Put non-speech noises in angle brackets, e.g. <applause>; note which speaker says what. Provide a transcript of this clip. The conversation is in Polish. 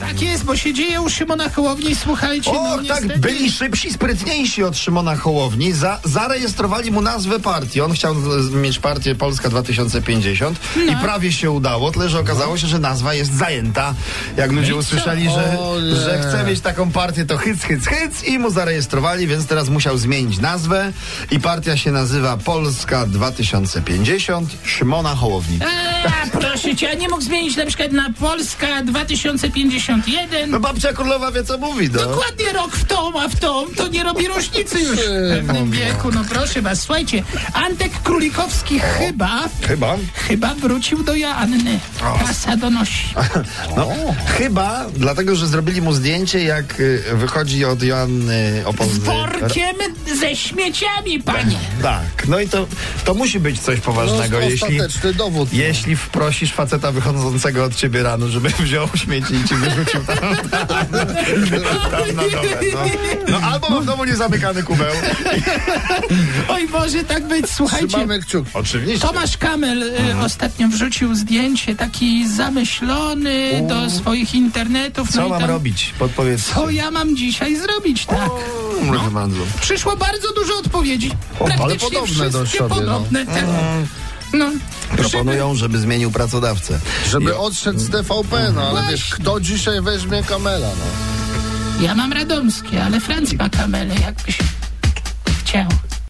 Speaker 1: Tak jest, bo się dzieje u Szymona Hołowni, słuchajcie.
Speaker 2: O,
Speaker 1: no,
Speaker 2: tak,
Speaker 1: niestety.
Speaker 2: byli szybsi, sprytniejsi od Szymona Hołowni. Za, zarejestrowali mu nazwę partii. On chciał z- z- mieć partię Polska 2050 i
Speaker 1: No.
Speaker 2: prawie się udało, tyle że okazało się, że nazwa jest zajęta. Jak ludzie usłyszeli, że,
Speaker 1: No Ole.
Speaker 2: że chce mieć taką partię, to hyc, hyc, hyc i mu zarejestrowali, więc teraz musiał zmienić nazwę i partia się nazywa Polska 2050 Szymona Hołowni.
Speaker 1: E- A, proszę cię, a nie mógł zmienić na przykład na Polska 2051.
Speaker 2: No babcia królowa wie, co mówi, no.
Speaker 1: Dokładnie rok w tą, a w tą, to nie robi różnicy już w pewnym wieku. No proszę was, słuchajcie, Antek Królikowski chyba,
Speaker 2: Chyba.
Speaker 1: chyba wrócił do Joanny. Prasa donosi.
Speaker 2: No, chyba dlatego, że zrobili mu zdjęcie, jak y, wychodzi od Joanny
Speaker 1: Z
Speaker 2: Opolny.
Speaker 1: workiem ze śmieciami, panie.
Speaker 2: Tak, no i to, to musi być coś poważnego,
Speaker 3: No,
Speaker 2: jeśli,
Speaker 3: ostateczny dowód.
Speaker 2: jeśli wprosisz faceta wychodzącego od ciebie rano, żeby <laughs> wziął śmieci i ci wyrzucił tam, tam, tam na dole. No, no albo ma w domu niezamykany kubeł.
Speaker 1: Oj Boże, tak być, słuchajcie.
Speaker 3: Trzymamy kciuk.
Speaker 2: Oczywiście.
Speaker 1: Tomasz Kamel y,
Speaker 2: Mhm.
Speaker 1: ostatnio wrzucił zdjęcie taki zamyślony do swoich internetów. no
Speaker 2: Co
Speaker 1: i
Speaker 2: mam
Speaker 1: tam,
Speaker 2: robić? Podpowiedz.
Speaker 1: Co No. ja mam dzisiaj zrobić, tak?
Speaker 2: Mm, Proszę bardzo.
Speaker 1: Przyszło bardzo dużo odpowiedzi.
Speaker 2: O, ale
Speaker 1: Praktycznie
Speaker 3: podobne do
Speaker 1: wszystkie
Speaker 3: siebie, no.
Speaker 1: podobne. tak.
Speaker 2: Mhm.
Speaker 1: No.
Speaker 2: Proponują, żeby zmienił pracodawcę.
Speaker 3: Żeby odszedł z TVP, no ale wiesz, kto dzisiaj weźmie Kamela, no.
Speaker 1: Ja mam radomskie, ale Franc ma kamelę, jakby się chciał.